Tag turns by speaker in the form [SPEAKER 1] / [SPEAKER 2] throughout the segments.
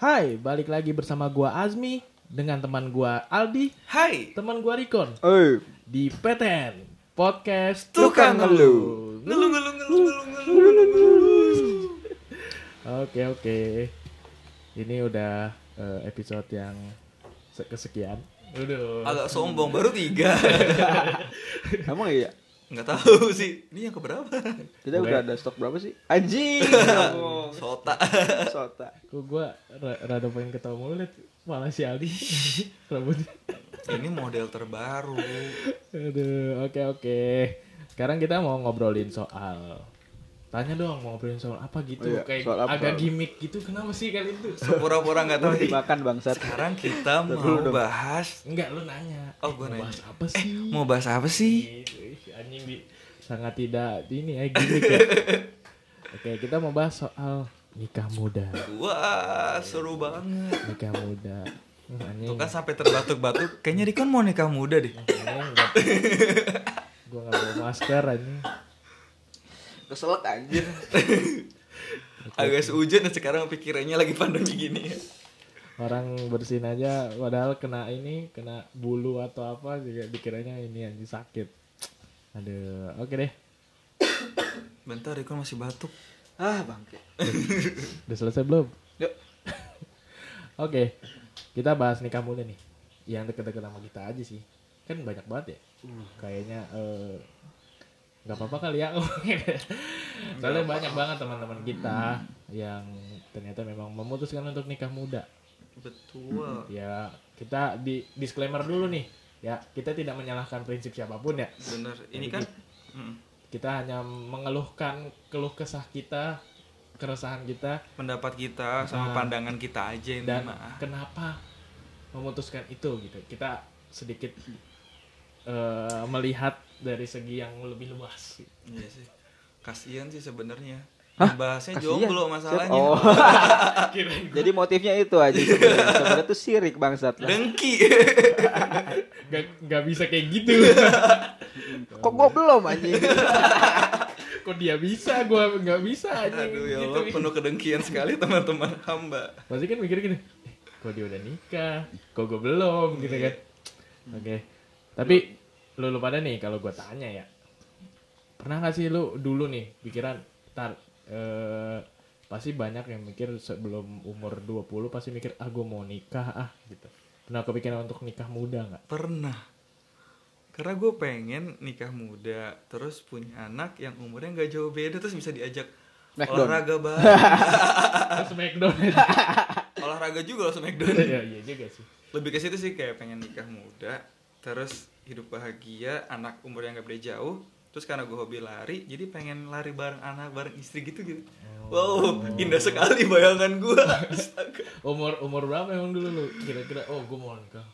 [SPEAKER 1] Hai, balik lagi bersama gua Azmi dengan teman gua Aldi,
[SPEAKER 2] Hai,
[SPEAKER 1] teman gua Rikon
[SPEAKER 3] Eh,
[SPEAKER 1] di PTN Podcast
[SPEAKER 3] Tukang Ngeluh.
[SPEAKER 2] ngeluh ngeluh ngeluh ngeluh ngeluh ngeluh, ngeluh.
[SPEAKER 1] Oke, oke. Ini udah eh, episode yang se- kesekian. Udah.
[SPEAKER 2] Agak sombong baru tiga.
[SPEAKER 3] emang iya?
[SPEAKER 2] Nggak tahu sih. Ini yang keberapa?
[SPEAKER 3] Kita
[SPEAKER 1] Boleh.
[SPEAKER 3] udah ada stok berapa sih? Anjing.
[SPEAKER 2] Sota.
[SPEAKER 3] Sota.
[SPEAKER 1] Kok gua ra- rada pengen ketawa mulu liat malah si Aldi rambutnya.
[SPEAKER 2] Ini model terbaru.
[SPEAKER 1] Aduh, oke oke. Sekarang kita mau ngobrolin soal Tanya dong mau ngobrolin soal apa gitu
[SPEAKER 3] Oh iya,
[SPEAKER 1] kayak
[SPEAKER 3] soal apa?
[SPEAKER 1] agak gimmick gitu kenapa sih kali itu?
[SPEAKER 2] Pura-pura nggak tahu.
[SPEAKER 3] Dimakan bangsat.
[SPEAKER 2] Sekarang kita
[SPEAKER 3] Dulu
[SPEAKER 2] mau
[SPEAKER 3] dong.
[SPEAKER 2] bahas
[SPEAKER 1] Enggak lu nanya. Eh,
[SPEAKER 2] Oh, gua
[SPEAKER 1] Mau
[SPEAKER 2] nanya.
[SPEAKER 1] Bahas apa sih?
[SPEAKER 2] mau bahas apa sih?
[SPEAKER 1] Ih, ih, anjing di sangat tidak ini ya gimmick ya. Oke, kita mau bahas soal nikah muda.
[SPEAKER 2] Wah, seru banget.
[SPEAKER 1] Nikah muda. Hmm, Anjing.
[SPEAKER 2] Tuh kan sampai terbatuk-batuk. Kayaknya Rikon mau nikah muda deh.
[SPEAKER 1] anjing, enggak. Gua enggak bawa masker anjing.
[SPEAKER 3] Keselak anjir.
[SPEAKER 2] Agak sehujan dan sekarang pikirannya lagi pandemi gini.
[SPEAKER 1] Orang bersin aja padahal kena ini, kena bulu atau apa juga dikiranya ini anjing sakit. Aduh, oke deh.
[SPEAKER 2] Bentar, Rikon masih batuk.
[SPEAKER 3] ah, bangke.
[SPEAKER 1] Udah selesai belum?
[SPEAKER 3] Yuk.
[SPEAKER 1] Oke, kita bahas nikah muda nih. Yang deket-deket sama kita aja sih. Kan banyak banget ya. Kayaknya eh, nggak apa-apa kali ya. Soalnya banyak banget teman-teman kita yang ternyata memang memutuskan untuk nikah muda.
[SPEAKER 2] Betul.
[SPEAKER 1] Ya, kita di disclaimer dulu nih. Ya, kita tidak menyalahkan prinsip siapapun ya.
[SPEAKER 2] Bener. Ini kan Mm.
[SPEAKER 1] Kita hanya mengeluhkan keluh kesah kita, keresahan kita
[SPEAKER 2] pendapat kita sama
[SPEAKER 1] Ah.
[SPEAKER 2] pandangan kita aja ini
[SPEAKER 1] dan
[SPEAKER 2] mah.
[SPEAKER 1] kenapa memutuskan itu gitu kita sedikit eh, melihat dari segi yang lebih luas
[SPEAKER 2] Iya sih. Kasihan sih sebenarnya.
[SPEAKER 3] Hah?
[SPEAKER 2] Bahasnya
[SPEAKER 3] Kasihan.
[SPEAKER 2] jomblo masalahnya.
[SPEAKER 3] Oh.
[SPEAKER 2] Ah.
[SPEAKER 1] Kirain
[SPEAKER 3] Jadi motifnya itu aja sebenarnya. Sebenarnya tuh sirik bangsat lah.
[SPEAKER 2] Dengki.
[SPEAKER 1] nggak nggak bisa kayak gitu
[SPEAKER 3] Kok gua belum anjing?
[SPEAKER 1] kok dia bisa gua nggak bisa anjing
[SPEAKER 2] Aduh ya
[SPEAKER 1] gitu
[SPEAKER 2] Allah, penuh kedengkian sekali teman-teman hamba.
[SPEAKER 1] pasti kan mikir gini "Eh, kok dia udah nikah kok gua belum gitu kan oke tapi lu lu pada nih kalau gua tanya ya pernah gak sih lu dulu nih pikiran tar eh, pasti banyak yang mikir sebelum umur 20 pasti mikir ah gua mau nikah ah gitu pernah kepikiran untuk nikah muda nggak
[SPEAKER 2] Pernah. Karena gue pengen nikah muda, terus punya anak yang umurnya nggak jauh beda, terus bisa diajak
[SPEAKER 3] Smackdown.
[SPEAKER 2] olahraga bareng. Ah.
[SPEAKER 1] terus McDonald
[SPEAKER 2] olahraga juga langsung McDonald's.
[SPEAKER 1] ya iya juga sih
[SPEAKER 2] Lebih ke situ sih kayak pengen nikah muda, terus hidup bahagia, anak umur yang nggak beda jauh. Terus karena gue hobi lari, jadi pengen lari bareng anak, bareng istri gitu gitu.
[SPEAKER 1] Oh.
[SPEAKER 2] Wow, indah sekali bayangan gue. Astaga.
[SPEAKER 1] umur umur berapa emang dulu lu kira-kira oh gua mau nikah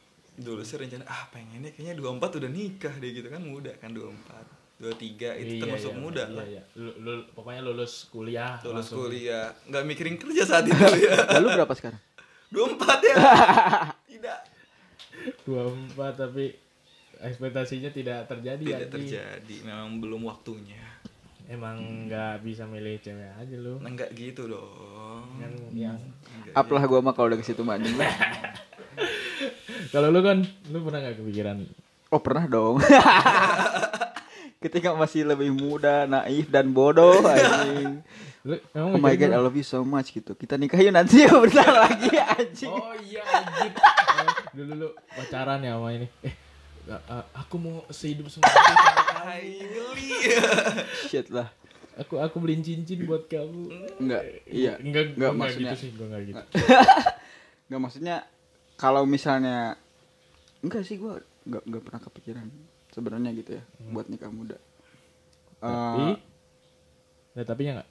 [SPEAKER 2] dulu sih rencana ah pengennya kayaknya 24 udah nikah deh gitu kan muda kan 24 23 itu
[SPEAKER 1] Iya,
[SPEAKER 2] termasuk
[SPEAKER 1] iya,
[SPEAKER 2] muda
[SPEAKER 1] iya,
[SPEAKER 2] lah
[SPEAKER 1] iya. Lu, lu- pokoknya lulus kuliah
[SPEAKER 2] lulus
[SPEAKER 1] langsung.
[SPEAKER 2] kuliah nggak mikirin kerja saat itu ya
[SPEAKER 3] Lalu berapa sekarang?
[SPEAKER 2] 24 ya tidak
[SPEAKER 1] 24 tapi ekspektasinya tidak terjadi
[SPEAKER 2] tidak
[SPEAKER 1] anjing.
[SPEAKER 2] terjadi memang belum waktunya
[SPEAKER 1] Emang nggak bisa milih cewek aja lu.
[SPEAKER 2] Nah, nggak gitu dong
[SPEAKER 1] Kan yang
[SPEAKER 2] Nggak
[SPEAKER 3] Up lah gua mah kalau udah ke situ mah anjing.
[SPEAKER 1] kalau lu kan lu pernah nggak kepikiran
[SPEAKER 3] Oh, pernah dong. Ketika masih lebih muda, naif dan bodoh anjing.
[SPEAKER 1] lu emang
[SPEAKER 3] Oh my
[SPEAKER 1] mikirin
[SPEAKER 3] god, I
[SPEAKER 1] lu-
[SPEAKER 3] love you so much gitu. Kita nikah yuk nanti ya bentar lagi anjing.
[SPEAKER 1] Oh iya anjir. Oh, dulu lu pacaran ya sama ini. Eh nggak, eh, aku mau sehidup semati sama kamu.
[SPEAKER 2] Hai, geli
[SPEAKER 3] Shit lah.
[SPEAKER 1] Aku aku beliin cincin buat kamu.
[SPEAKER 3] Enggak, iya.
[SPEAKER 1] Enggak,
[SPEAKER 3] enggak
[SPEAKER 1] enggak,
[SPEAKER 3] maksudnya.
[SPEAKER 1] Eh, gitu
[SPEAKER 3] Eh,
[SPEAKER 1] sih, gua enggak gitu.
[SPEAKER 3] Enggak maksudnya kalau misalnya enggak sih gua enggak enggak pernah kepikiran sebenarnya gitu ya buat nikah muda.
[SPEAKER 1] Hmm. Tapi
[SPEAKER 3] Eh,
[SPEAKER 1] Nah, tapi ya enggak.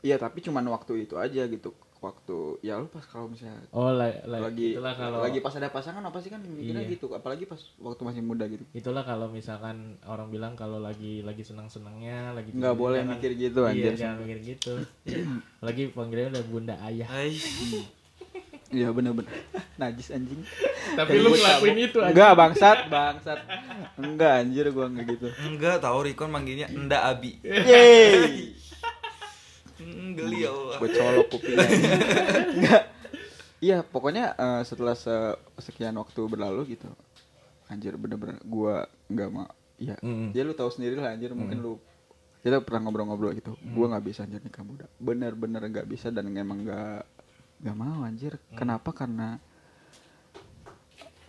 [SPEAKER 3] iya, tapi cuman waktu itu aja gitu. Waktu ya lu pas kalau misalnya
[SPEAKER 1] Oh, la- la-
[SPEAKER 3] lagi
[SPEAKER 1] itulah kalau
[SPEAKER 3] lagi pas ada pasangan apa sih kan mikirnya
[SPEAKER 1] Iya.
[SPEAKER 3] gitu, apalagi pas waktu masih muda gitu.
[SPEAKER 1] itulah kalau misalkan orang bilang kalau lagi lagi senang senangnya lagi
[SPEAKER 3] Nggak
[SPEAKER 1] jangan-
[SPEAKER 3] boleh mikir gitu,
[SPEAKER 1] iya,
[SPEAKER 3] anjir.
[SPEAKER 1] jangan mikir gitu lagi panggilnya udah bunda ayah
[SPEAKER 2] Hai.
[SPEAKER 3] Iya bener-bener Najis anjing.
[SPEAKER 1] tapi
[SPEAKER 3] Kayak
[SPEAKER 1] lu
[SPEAKER 3] gua
[SPEAKER 1] ngelakuin
[SPEAKER 3] cabut.
[SPEAKER 1] itu aja
[SPEAKER 3] Enggak, bangsat, bangsat. Enggak anjir gua enggak gitu.
[SPEAKER 2] enggak tahu Rikon manggilnya Nda Abi
[SPEAKER 3] Yeay.
[SPEAKER 2] Mm, geli ya Allah.
[SPEAKER 3] gue colok kupingnya enggak iya pokoknya eh, setelah se- sekian waktu berlalu gitu anjir bener-bener gue nggak mau ya
[SPEAKER 1] Mm-mm.
[SPEAKER 3] ya lu tahu sendiri lah anjir mungkin lu kita pernah ngobrol-ngobrol gitu gue nggak bisa anjir nikah muda bener-bener nggak bisa dan emang nggak nggak mau anjir kenapa karena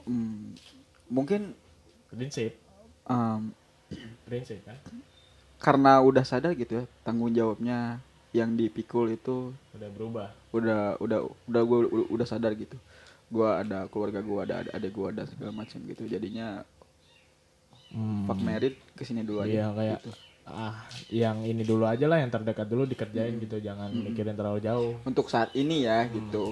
[SPEAKER 3] mm, mungkin
[SPEAKER 1] prinsip
[SPEAKER 3] em,
[SPEAKER 1] prinsip kan
[SPEAKER 3] karena udah sadar gitu ya tanggung jawabnya yang dipikul itu
[SPEAKER 1] udah berubah
[SPEAKER 3] udah udah udah gue udah sadar gitu gue ada keluarga gue ada ada adik gue ada segala macam gitu jadinya fuck merit kesini gitu. dulu aja
[SPEAKER 1] Hmm. Iya kayak ah yang ini dulu aja lah yang terdekat dulu dikerjain gitu jangan mikirin terlalu jauh.
[SPEAKER 3] untuk saat ini ya
[SPEAKER 1] Hmm.
[SPEAKER 3] gitu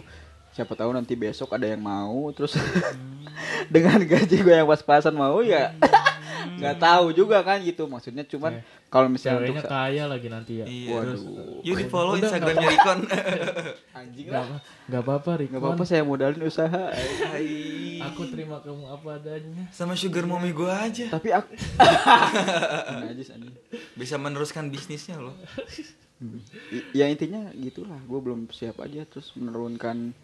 [SPEAKER 3] siapa tahu nanti besok ada yang mau terus
[SPEAKER 1] Hmm.
[SPEAKER 3] dengan gaji gue yang pas-pasan mau ya nggak tahu juga kan gitu maksudnya cuman kalau
[SPEAKER 1] Hmm.
[SPEAKER 3] misalnya
[SPEAKER 1] Iya. Ceweknya
[SPEAKER 3] untuk sa-
[SPEAKER 1] kaya lagi nanti ya.
[SPEAKER 2] Iya.
[SPEAKER 3] waduh
[SPEAKER 2] Yuk di follow
[SPEAKER 1] Udah,
[SPEAKER 2] Instagramnya Rikon.
[SPEAKER 3] anjing
[SPEAKER 1] Gak, apa- gak apa-apa Rikon.
[SPEAKER 3] nggak apa-apa saya modalin usaha
[SPEAKER 2] Hai.
[SPEAKER 1] Aku terima kamu apa adanya.
[SPEAKER 2] Sama sugar mommy gue aja.
[SPEAKER 3] tapi aku najis anjing
[SPEAKER 2] Bisa meneruskan bisnisnya loh.
[SPEAKER 3] I- ya intinya gitulah gue belum siap aja terus menurunkan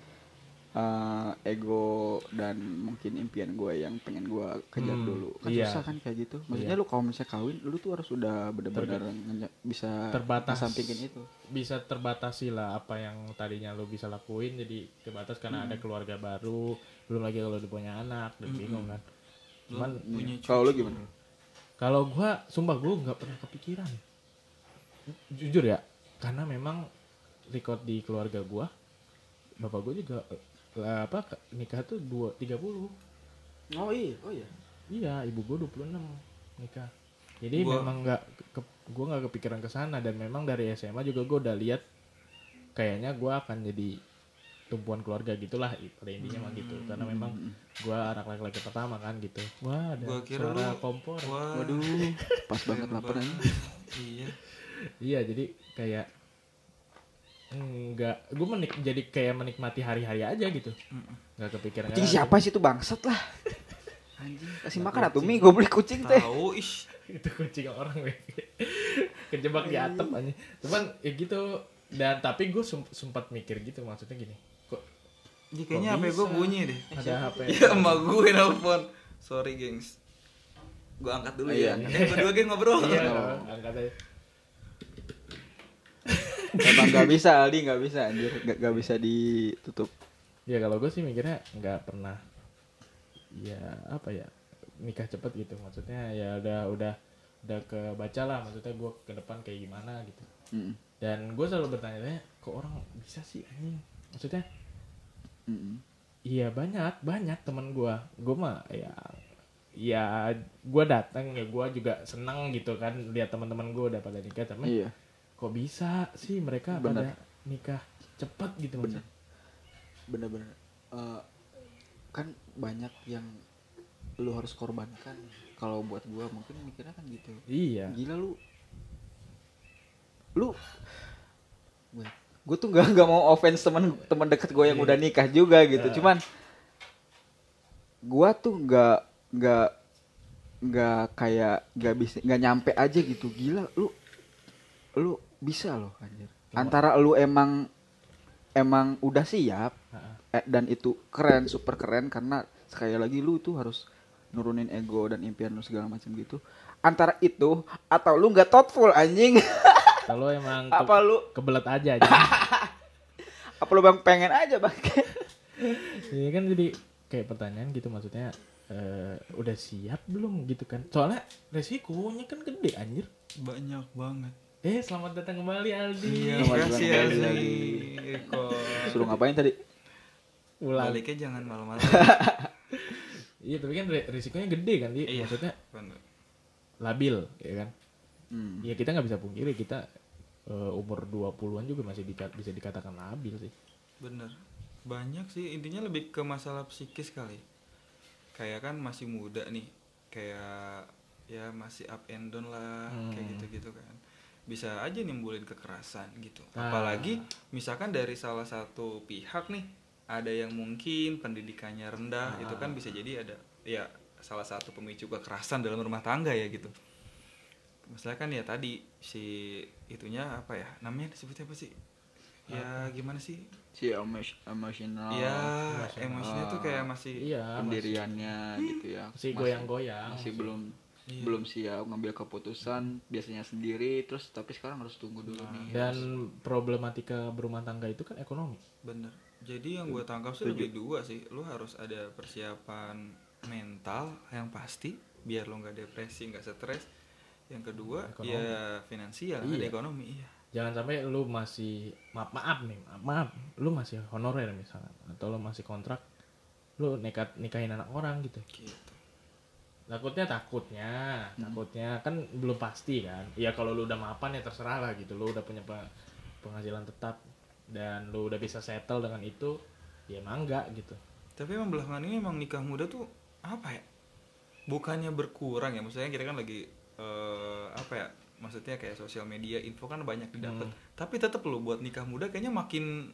[SPEAKER 3] eh, ego dan mungkin impian gue yang pengen gue kejar
[SPEAKER 1] Hmm,
[SPEAKER 3] dulu kan
[SPEAKER 1] iya.
[SPEAKER 3] susah kan kayak gitu maksudnya lu kalau misalnya kawin lu tuh harus udah bener-bener ngenya- bisa
[SPEAKER 1] terbatas.
[SPEAKER 3] sampingin itu
[SPEAKER 1] Bisa terbatasi lah apa yang tadinya lo bisa lakuin jadi terbatas karena ada keluarga baru, belum lagi kalau udah punya anak, dan bingung kan. Cuman
[SPEAKER 2] Punya cu-
[SPEAKER 3] Iya. kalau lu gimana
[SPEAKER 1] Kalau gua sumpah gua nggak pernah kepikiran. Jujur ya, karena memang record di keluarga gua bapak gua juga eh, apa ke- nikah tuh dua tiga puluh
[SPEAKER 3] oh iya oh iya
[SPEAKER 1] iya ibu gua 26 nikah jadi
[SPEAKER 2] Gua-
[SPEAKER 1] memang nggak ke- gua nggak kepikiran ke sana dan memang dari SMA juga gua udah lihat kayaknya gua akan jadi tumpuan keluarga gitulah i- pada intinya mah gitu karena memang
[SPEAKER 3] Hmm.
[SPEAKER 1] gua anak laki-laki pertama kan gitu wah ada
[SPEAKER 2] Gua kira
[SPEAKER 1] suara
[SPEAKER 2] lu-
[SPEAKER 1] kompor
[SPEAKER 2] Wah.
[SPEAKER 3] waduh pas banget
[SPEAKER 2] keren
[SPEAKER 3] lapar anjing.
[SPEAKER 2] Iya.
[SPEAKER 1] Iya jadi kayak enggak gue menik jadi kayak menikmati hari-hari aja gitu nggak kepikiran
[SPEAKER 3] Kucing
[SPEAKER 1] nggak-
[SPEAKER 3] siapa sih tuh bangsat lah anjing kasih makan atuh mi gue beli kucing teh
[SPEAKER 2] Tahu ish.
[SPEAKER 1] itu kucing orang weh kejebak di atap aja cuman ya gitu dan tapi gue sempat mikir gitu maksudnya gini kok
[SPEAKER 2] Ini kayaknya
[SPEAKER 1] Kok
[SPEAKER 2] HP gue
[SPEAKER 1] bisa?
[SPEAKER 2] bunyi deh.
[SPEAKER 1] ada HP
[SPEAKER 2] Ya emak gue nelfon. Sorry gengs. Gue angkat dulu
[SPEAKER 3] Oh,
[SPEAKER 2] ya.
[SPEAKER 3] iya.
[SPEAKER 2] Eh berdua geng ngobrol.
[SPEAKER 1] iya dong, angkat aja
[SPEAKER 3] emang nggak bisa Aldi nggak bisa anjir nggak nggak bisa ditutup
[SPEAKER 1] ya kalau gue sih mikirnya nggak pernah ya apa ya nikah cepet gitu maksudnya ya udah udah udah kebaca lah maksudnya gue ke depan kayak gimana gitu
[SPEAKER 3] Mm,
[SPEAKER 1] dan gue selalu bertanya-tanya kok orang bisa sih anjing maksudnya
[SPEAKER 3] mm,
[SPEAKER 1] iya banyak banyak teman gue gue mah ya ya gue datang ya gue juga seneng gitu kan lihat teman-teman gue udah pada nikah
[SPEAKER 3] mm.
[SPEAKER 1] tapi
[SPEAKER 3] iya
[SPEAKER 1] kok bisa sih mereka
[SPEAKER 3] Bener.
[SPEAKER 1] pada nikah cepet gitu maksudnya
[SPEAKER 3] bener-bener eh, kan banyak yang lu harus korbankan kalau buat gua mungkin mikirnya kan gitu
[SPEAKER 1] iya
[SPEAKER 3] gila lu lu gue tuh nggak nggak mau offense teman teman deket gue yang udah nikah juga gitu cuman gua tuh nggak nggak nggak kayak nggak bisa nggak nyampe aja gitu gila lu lu bisa loh anjir antara lu emang emang udah siap
[SPEAKER 1] Ha-ha.
[SPEAKER 3] eh, dan itu keren super keren karena sekali lagi lu tuh harus nurunin ego dan impian lu segala macam gitu antara itu atau lu nggak thoughtful anjing
[SPEAKER 1] kalau emang ke-
[SPEAKER 3] apa lu
[SPEAKER 1] kebelet aja aja
[SPEAKER 3] apa lu bang pengen aja bang
[SPEAKER 1] Iya kan jadi kayak pertanyaan gitu maksudnya eh, udah siap belum gitu kan soalnya resikonya kan gede anjir
[SPEAKER 2] Banyak banget.
[SPEAKER 1] eh selamat datang kembali Aldi
[SPEAKER 2] Iya,
[SPEAKER 3] Selamat
[SPEAKER 2] makasih
[SPEAKER 3] ulang
[SPEAKER 2] ya
[SPEAKER 3] tahun,
[SPEAKER 2] sih.
[SPEAKER 3] Aldi. suruh ngapain tadi
[SPEAKER 1] ulang
[SPEAKER 2] Baliknya jangan malam-malam.
[SPEAKER 1] Iya tapi kan re- risikonya gede kan Di.
[SPEAKER 2] Iya.
[SPEAKER 1] maksudnya labil ya kan.
[SPEAKER 3] Hmm.
[SPEAKER 1] Ya kita nggak bisa pungkiri kita eh, umur 20-an juga masih dika- bisa dikatakan labil sih.
[SPEAKER 2] Bener. Banyak sih intinya lebih ke masalah psikis kali. Kayak kan masih muda nih. Kayak ya masih up and down lah kayak gitu-gitu kan. Bisa aja nimbulin kekerasan gitu.
[SPEAKER 1] Ah.
[SPEAKER 2] Apalagi misalkan dari salah satu pihak nih ada yang mungkin pendidikannya rendah itu kan bisa jadi ada ya salah satu pemicu kekerasan dalam rumah tangga ya gitu. Misalnya kan ya tadi si itunya apa ya namanya disebutnya apa sih ya gimana sih
[SPEAKER 3] si emos- emosional
[SPEAKER 1] Iya,
[SPEAKER 2] ya
[SPEAKER 1] emosional.
[SPEAKER 2] emosinya tuh kayak masih
[SPEAKER 1] iya masih,
[SPEAKER 3] pendiriannya gitu ya
[SPEAKER 1] masih goyang-goyang
[SPEAKER 3] masih belum
[SPEAKER 2] Iya.
[SPEAKER 3] belum siap ngambil keputusan biasanya sendiri terus tapi sekarang harus tunggu dulu nih
[SPEAKER 1] Nah, dan problematika berumah tangga itu kan ekonomi
[SPEAKER 2] bener jadi yang gue tangkap sih lebih dua sih lu harus ada persiapan mental yang pasti biar lu nggak depresi nggak stres yang kedua
[SPEAKER 1] Ekonomi.
[SPEAKER 2] ya finansial
[SPEAKER 1] Iya.
[SPEAKER 2] ada ekonomi iya
[SPEAKER 1] jangan sampai lu masih maaf maaf nih maaf, maaf lu masih honorer misalnya atau lu masih kontrak lu nekat nikahin anak orang gitu
[SPEAKER 2] gitu
[SPEAKER 1] takutnya takutnya takutnya kan belum pasti kan ya kalau lu udah mapan ya terserah lah gitu lu udah punya pe- penghasilan tetap dan lu udah bisa settle dengan itu ya mangga gitu
[SPEAKER 2] tapi emang belakangan ini emang nikah muda tuh apa ya bukannya berkurang ya maksudnya kita kan lagi eh, apa ya maksudnya kayak sosial media info kan banyak didapat tapi tetap lo buat nikah muda kayaknya makin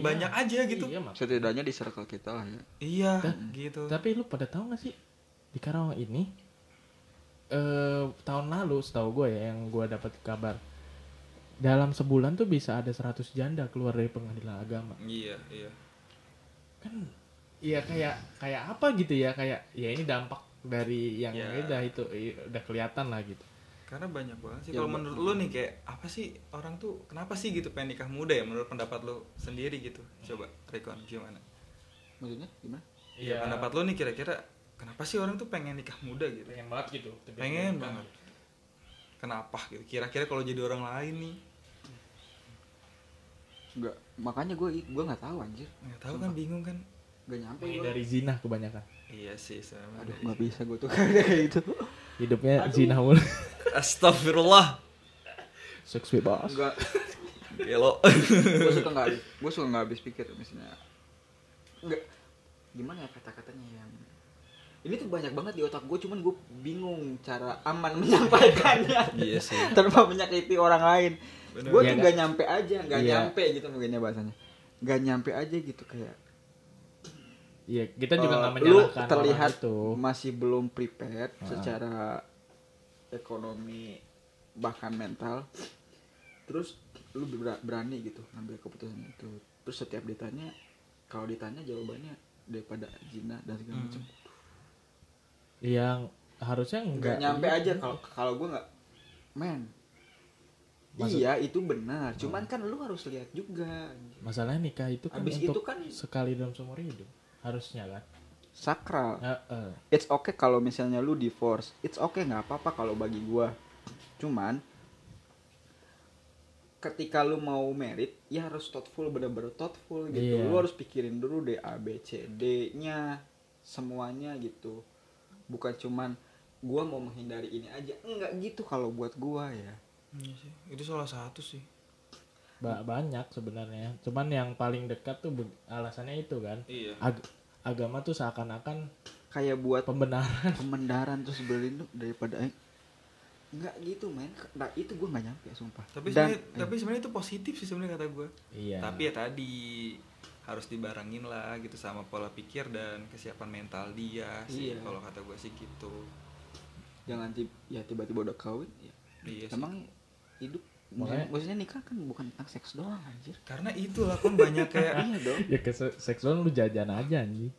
[SPEAKER 1] Hmm. Iya.
[SPEAKER 2] banyak aja gitu
[SPEAKER 1] iya mak
[SPEAKER 3] setidaknya di circle kita lah ya
[SPEAKER 2] iya gitu
[SPEAKER 1] tapi lu pada tahu gak sih di Karawang ini eh tahun lalu setahu gue ya yang gue dapat kabar dalam sebulan tuh bisa ada 100 janda keluar dari pengadilan agama
[SPEAKER 2] iya iya
[SPEAKER 1] kan ya kayak kayak apa gitu ya kayak ya ini dampak dari yang
[SPEAKER 2] Ya.
[SPEAKER 1] beda itu i- udah kelihatan lah gitu
[SPEAKER 2] karena banyak banget sih
[SPEAKER 3] Ya,
[SPEAKER 2] kalau
[SPEAKER 3] ba-
[SPEAKER 2] menurut lo nih kayak apa sih orang tuh kenapa sih gitu pengen nikah muda ya menurut pendapat lo sendiri gitu coba Rekon gimana
[SPEAKER 3] maksudnya gimana
[SPEAKER 1] Iya,
[SPEAKER 2] ya pendapat lo nih kira-kira kenapa sih orang tuh pengen nikah muda gitu
[SPEAKER 1] pengen banget gitu
[SPEAKER 2] pengen banget kenapa gitu kira-kira kalau jadi orang lain nih
[SPEAKER 3] nggak makanya gue gue nggak tahu anjir
[SPEAKER 2] nggak tahu kan bingung kan
[SPEAKER 3] nggak nyampe
[SPEAKER 1] Ini
[SPEAKER 3] gua.
[SPEAKER 1] dari zina kebanyakan
[SPEAKER 2] iya sih sebenarnya
[SPEAKER 3] aduh nggak bisa gue tuh kayak gitu
[SPEAKER 1] hidupnya zina mulu
[SPEAKER 2] astagfirullah
[SPEAKER 1] seks bebas
[SPEAKER 3] nggak
[SPEAKER 2] gelo
[SPEAKER 3] gue suka nggak gue suka nggak habis pikir misalnya nggak gimana ya kata-katanya yang ini tuh banyak banget di otak gue cuman gue bingung cara aman menyampaikannya
[SPEAKER 2] iya sih
[SPEAKER 3] tanpa menyakiti orang lain
[SPEAKER 2] Bener.
[SPEAKER 1] Iya,
[SPEAKER 3] gue tuh
[SPEAKER 1] nggak?
[SPEAKER 3] nggak nyampe aja nggak
[SPEAKER 1] Iya.
[SPEAKER 3] nyampe gitu mungkinnya bahasanya nggak nyampe aja gitu kayak
[SPEAKER 1] iya kita juga
[SPEAKER 3] eh,
[SPEAKER 1] nggak
[SPEAKER 3] lu
[SPEAKER 1] menyalahkan orang
[SPEAKER 3] terlihat
[SPEAKER 1] itu Ah.
[SPEAKER 3] masih belum prepared secara ekonomi bahkan mental terus lu ber- berani gitu ngambil keputusan itu terus setiap ditanya kalau ditanya jawabannya daripada zina dan segala
[SPEAKER 1] Hmm.
[SPEAKER 3] macam
[SPEAKER 1] yang harusnya
[SPEAKER 3] nggak
[SPEAKER 1] nggak gitu.
[SPEAKER 3] nyampe aja kalau kalau gue nggak men
[SPEAKER 1] Maksud- Ah.
[SPEAKER 3] iya itu benar cuman kan lu harus lihat juga
[SPEAKER 1] masalahnya nikah itu kan
[SPEAKER 3] Abis
[SPEAKER 1] untuk
[SPEAKER 3] itu kan-
[SPEAKER 1] sekali dalam seumur hidup harusnya kan Nah, eh,
[SPEAKER 3] sakral
[SPEAKER 1] Heeh.
[SPEAKER 3] it's okay kalau misalnya lu divorce it's okay nggak apa-apa kalau bagi gua cuman ketika lu mau merit ya harus thoughtful bener-bener thoughtful gitu
[SPEAKER 1] Iya.
[SPEAKER 3] lu harus pikirin dulu deh a b c d nya semuanya gitu bukan cuman gua mau menghindari ini aja enggak gitu kalau buat gua ya
[SPEAKER 2] Iya sih, itu salah satu sih
[SPEAKER 1] Ba- banyak sebenarnya cuman yang paling dekat tuh be- alasannya itu kan
[SPEAKER 2] iya
[SPEAKER 1] Ag- agama tuh seakan-akan
[SPEAKER 3] kayak buat
[SPEAKER 1] pembenaran
[SPEAKER 3] pembendaran terus berlindung daripada eh, enggak gitu men nah itu gua nggak nyampe sumpah
[SPEAKER 2] tapi
[SPEAKER 3] Dan-
[SPEAKER 2] sebenarnya tapi sebenarnya itu positif sih sebenarnya kata gue
[SPEAKER 1] iya
[SPEAKER 2] tapi ya tadi harus dibarengin lah gitu sama pola pikir dan kesiapan mental dia sih
[SPEAKER 3] Iya.
[SPEAKER 2] kalau kata gue sih gitu
[SPEAKER 3] jangan tib- ya tiba-tiba udah kawin ya
[SPEAKER 2] iya sih.
[SPEAKER 3] emang hidup
[SPEAKER 1] Makanya-
[SPEAKER 3] maksudnya nikah kan bukan tentang seks doang anjir
[SPEAKER 2] karena itulah kan banyak kayak
[SPEAKER 3] iya dong
[SPEAKER 1] ya ke se- seksual lu jajan aja anjing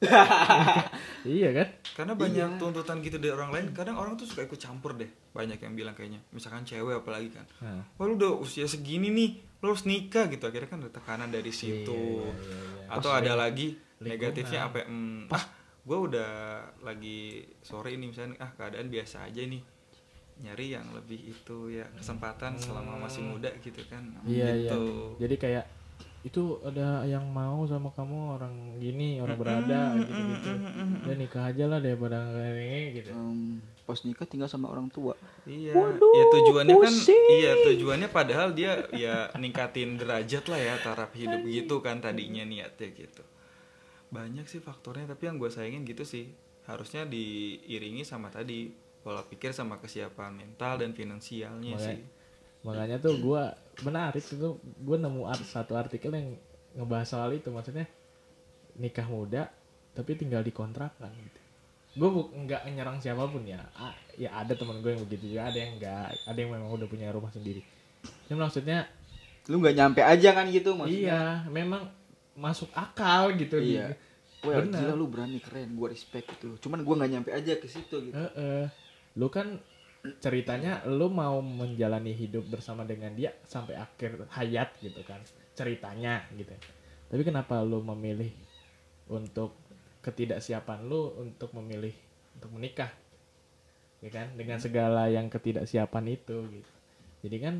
[SPEAKER 1] iya kan
[SPEAKER 2] Karena banyak
[SPEAKER 3] Iya.
[SPEAKER 2] tuntutan gitu dari orang lain, kadang orang tuh suka ikut campur deh. Banyak yang bilang kayaknya, misalkan cewek apalagi kan.
[SPEAKER 1] Nah.
[SPEAKER 2] Wah lu udah usia segini nih, lu harus nikah gitu. Akhirnya kan ada tekanan dari situ.
[SPEAKER 1] Iya, iya, iya, iya.
[SPEAKER 2] Atau ada lagi
[SPEAKER 1] lingkungan.
[SPEAKER 2] negatifnya apa? ya, hmm, ah, gue udah lagi sore ini misalnya, ah keadaan biasa aja nih. Nyari yang lebih itu ya kesempatan selama masih muda gitu kan.
[SPEAKER 1] Hmm. iya iya
[SPEAKER 2] gitu.
[SPEAKER 1] jadi kayak itu ada yang mau sama kamu orang gini orang
[SPEAKER 2] Hmm,
[SPEAKER 1] berada gitu gitu dan nikah aja lah daripada kayak gitu
[SPEAKER 3] Em, pas nikah tinggal sama orang tua
[SPEAKER 2] Iya,
[SPEAKER 3] Waduh,
[SPEAKER 2] ya tujuannya
[SPEAKER 3] pusing.
[SPEAKER 2] kan iya tujuannya padahal dia ya ningkatin derajat lah ya taraf hidup gitu kan tadinya niatnya gitu. Banyak sih faktornya tapi yang gue sayangin gitu sih. Harusnya diiringi sama tadi pola pikir sama kesiapan mental dan finansialnya
[SPEAKER 1] Makanya-
[SPEAKER 2] sih.
[SPEAKER 1] makanya tuh gua menarik itu gua nemu art- satu artikel yang ngebahas soal itu maksudnya nikah muda tapi tinggal dikontrakan gitu gue nggak nyerang siapapun ya A- ya ada teman gue yang begitu juga ada yang nggak ada yang memang udah punya rumah sendiri ya maksudnya
[SPEAKER 3] lu nggak nyampe aja kan gitu maksudnya
[SPEAKER 1] iya memang masuk akal gitu di-
[SPEAKER 3] iya Wah,
[SPEAKER 1] Bener.
[SPEAKER 3] gila lu berani keren gua respect gitu loh. cuman gua nggak nyampe aja ke situ gitu
[SPEAKER 1] Heeh. Lu kan ceritanya lu mau menjalani hidup bersama dengan dia sampai akhir hayat gitu kan. Ceritanya gitu. Tapi kenapa lu memilih untuk ketidaksiapan lu untuk memilih untuk menikah? Ya kan dengan segala yang ketidaksiapan itu gitu. Jadi kan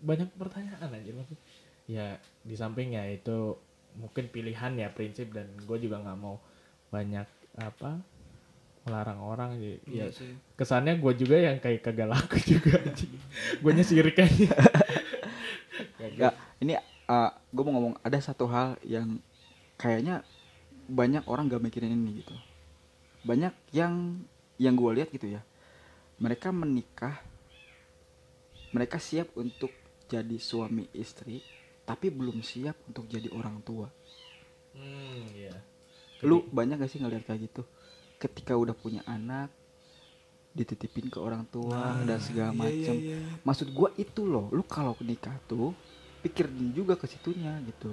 [SPEAKER 1] banyak pertanyaan aja maksud. Ya di sampingnya itu mungkin pilihan ya prinsip dan gue juga nggak mau banyak apa melarang orang jadi ya
[SPEAKER 2] Iya sih.
[SPEAKER 1] kesannya gue juga yang kayak kagak laku juga gue sirik aja
[SPEAKER 3] Nggak, ini uh, gue mau ngomong ada satu hal yang kayaknya banyak orang gak mikirin ini gitu. Banyak yang yang gue lihat gitu ya. Mereka menikah, mereka siap untuk jadi suami istri, tapi belum siap untuk jadi orang tua.
[SPEAKER 1] hmm iya
[SPEAKER 3] Lu banyak gak sih ngeliat kayak gitu? Ketika udah punya anak, dititipin ke orang tua dan segala
[SPEAKER 2] Iya, iya,
[SPEAKER 3] macem.
[SPEAKER 2] iya.
[SPEAKER 3] Maksud gue itu loh, lu kalau nikah tuh pikirin juga ke situnya gitu.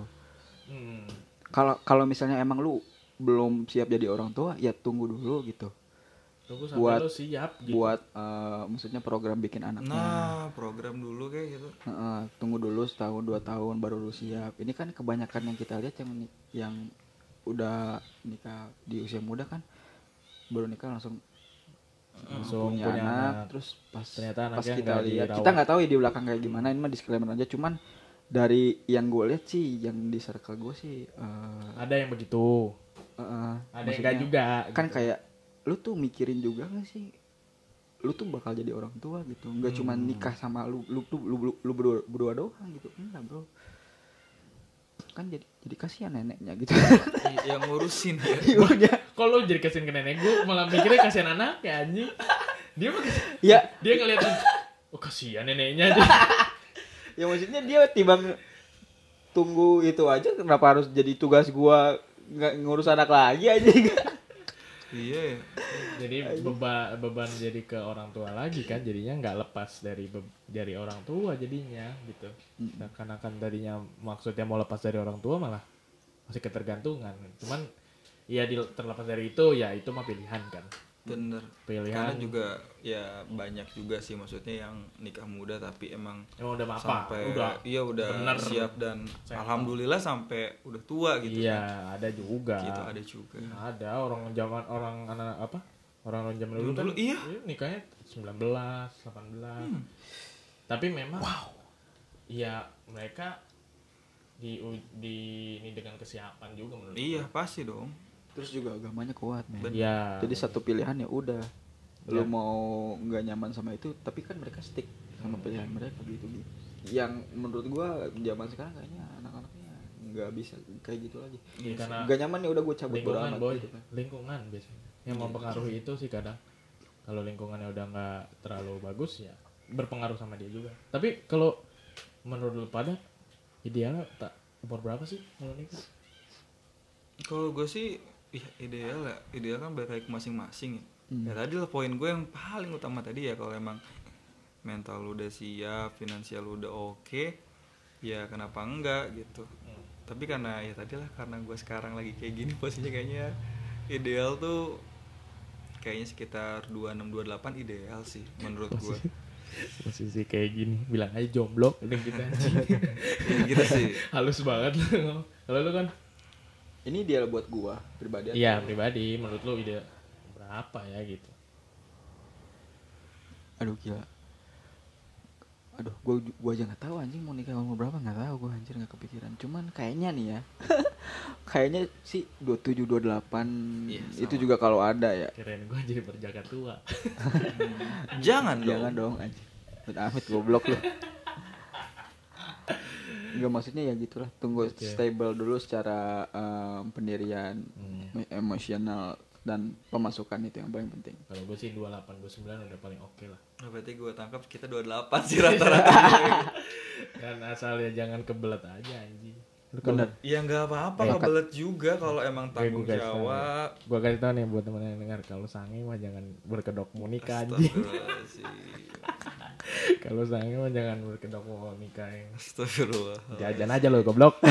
[SPEAKER 1] hmm.
[SPEAKER 3] kalau kalau misalnya emang lu belum siap jadi orang tua ya tunggu dulu gitu
[SPEAKER 1] tunggu sampai
[SPEAKER 3] Buat-
[SPEAKER 1] lo siap gitu
[SPEAKER 3] buat eh, maksudnya program bikin anaknya
[SPEAKER 2] Nah, program dulu kayak gitu.
[SPEAKER 3] Heeh, tunggu dulu setahun dua tahun baru lu siap ini kan kebanyakan yang kita lihat yang ni- yang udah nikah di usia muda kan baru nikah langsung
[SPEAKER 1] Langsung
[SPEAKER 3] punya,
[SPEAKER 1] Hmm, punya
[SPEAKER 3] anak,
[SPEAKER 1] anak.
[SPEAKER 3] terus pas
[SPEAKER 1] Ternyata
[SPEAKER 3] pas
[SPEAKER 1] anaknya
[SPEAKER 3] kita
[SPEAKER 1] nggak
[SPEAKER 3] lihat
[SPEAKER 1] dirawat.
[SPEAKER 3] kita nggak tahu ya di belakang kayak gimana ini mah disclaimer aja cuman dari yang gue lihat sih yang di circle gue sih eh,
[SPEAKER 1] ada yang begitu
[SPEAKER 3] eh,
[SPEAKER 1] ada yang enggak
[SPEAKER 3] maksudnya-
[SPEAKER 1] juga
[SPEAKER 3] kan
[SPEAKER 1] gitu.
[SPEAKER 3] kayak lu tuh mikirin juga gak sih lu tuh bakal jadi orang tua gitu nggak cuma nikah sama lu lu lu lu, lu- lu berdua, berdua doang gitu enggak bro kan jadi jadi kasihan neneknya gitu
[SPEAKER 2] I- yang ngurusin ya.
[SPEAKER 3] ibunya
[SPEAKER 1] kok lo jadi kasihan ke nenek gue malah mikirnya kasihan anak ya anjing dia mah kasi-
[SPEAKER 3] ya
[SPEAKER 1] dia ngeliatin oh kasihan neneknya aja
[SPEAKER 3] ya maksudnya dia tiba nge- tunggu itu aja kenapa harus jadi tugas gua nggak ngurus anak lagi aja
[SPEAKER 2] Iya. ya.
[SPEAKER 1] jadi beban beban jadi ke orang tua lagi kan jadinya nggak lepas dari be- dari orang tua jadinya gitu karena kan tadinya maksudnya mau lepas dari orang tua malah masih ketergantungan cuman ya di, terlepas dari itu ya itu mah pilihan kan
[SPEAKER 2] Bener. Karena
[SPEAKER 1] pilihan
[SPEAKER 2] juga ya banyak juga sih maksudnya yang nikah muda tapi emang
[SPEAKER 1] emang udah apa
[SPEAKER 2] sampai
[SPEAKER 1] udah
[SPEAKER 2] iya udah
[SPEAKER 1] bener.
[SPEAKER 2] siap dan alhamdulillah sampai udah tua gitu.
[SPEAKER 1] iya ada juga
[SPEAKER 2] Gitu
[SPEAKER 1] ada.
[SPEAKER 2] ada juga.
[SPEAKER 1] orang zaman orang anak apa orang orang zaman dulu, kan
[SPEAKER 2] Dulu, iya. Hmm.
[SPEAKER 1] nikahnya 19 18 tapi memang ya mereka di di ini dengan kesiapan juga menurut
[SPEAKER 2] Iya, pasti dong.
[SPEAKER 3] terus juga agamanya kuat men
[SPEAKER 1] ya
[SPEAKER 3] jadi satu pilihan ya udah lu mau nggak nyaman sama itu tapi kan mereka stick sama pilihan mereka gitu gitu yang menurut gua zaman sekarang kayaknya anak-anaknya nggak bisa kayak gitu lagi
[SPEAKER 1] Iya, karena
[SPEAKER 3] nggak nyaman ya udah gua cabut bodo
[SPEAKER 1] lingkungan
[SPEAKER 3] amat
[SPEAKER 1] boy
[SPEAKER 3] gitu kan.
[SPEAKER 1] lingkungan biasanya yang
[SPEAKER 2] Iya.
[SPEAKER 1] mempengaruhi itu sih kadang kalau lingkungannya udah nggak terlalu bagus ya berpengaruh sama dia juga tapi kalau menurut lu pada idealnya tak umur berapa sih kalau nikah
[SPEAKER 2] Kalau gue sih ih, ideal ya, ideal kan balik masing-masing ya. Ya tadi lah poin gue yang paling utama tadi ya kalau emang mental lu udah siap, finansial lu udah oke, ya kenapa enggak gitu. Tapi karena ya tadi lah karena gue sekarang lagi kayak gini posisinya kayaknya ideal tuh kayaknya sekitar 2628 ideal sih menurut gue.
[SPEAKER 1] posisi kayak gini bilang aja jomblo udah kita
[SPEAKER 2] ya, gitu sih.
[SPEAKER 1] halus banget lu. kalau lu kan
[SPEAKER 3] ini dia buat gua pribadi
[SPEAKER 1] iya pribadi menurut lu ide berapa ya gitu
[SPEAKER 3] aduh gila aduh gua ju- gua aja nggak tahu anjing mau nikah umur berapa nggak tahu gua anjir nggak kepikiran cuman kayaknya nih ya kayaknya sih 27 28
[SPEAKER 2] Iya,
[SPEAKER 3] itu
[SPEAKER 2] sama.
[SPEAKER 3] juga kalau ada ya
[SPEAKER 1] keren gua jadi berjaga tua
[SPEAKER 2] Jangan dong.
[SPEAKER 3] Jangan dong anjir. Amit amit goblok lu. Enggak maksudnya ya gitulah. Tunggu stable dulu secara em, pendirian em- emosional dan pemasukan itu yang paling penting.
[SPEAKER 1] kalau gue sih 28 29 udah paling oke lah
[SPEAKER 2] Nah, berarti gue tangkap kita 28 sih rata-rata.
[SPEAKER 1] dan asal ya jangan kebelet aja anjing lu
[SPEAKER 3] Bener.
[SPEAKER 2] ya nggak apa-apa kebelet juga kalau emang tanggung
[SPEAKER 1] guys tahu.
[SPEAKER 2] jawab.
[SPEAKER 1] Gua kasih tau nih buat temen yang dengar kalau sange mah jangan berkedok munika anjing.
[SPEAKER 2] Astagfirullahaladzim.
[SPEAKER 1] Kalau sayangnya mah jangan berkedok ya. mau nikah yang
[SPEAKER 2] Astagfirullah.
[SPEAKER 1] Oh, iya. jajan aja lo goblok.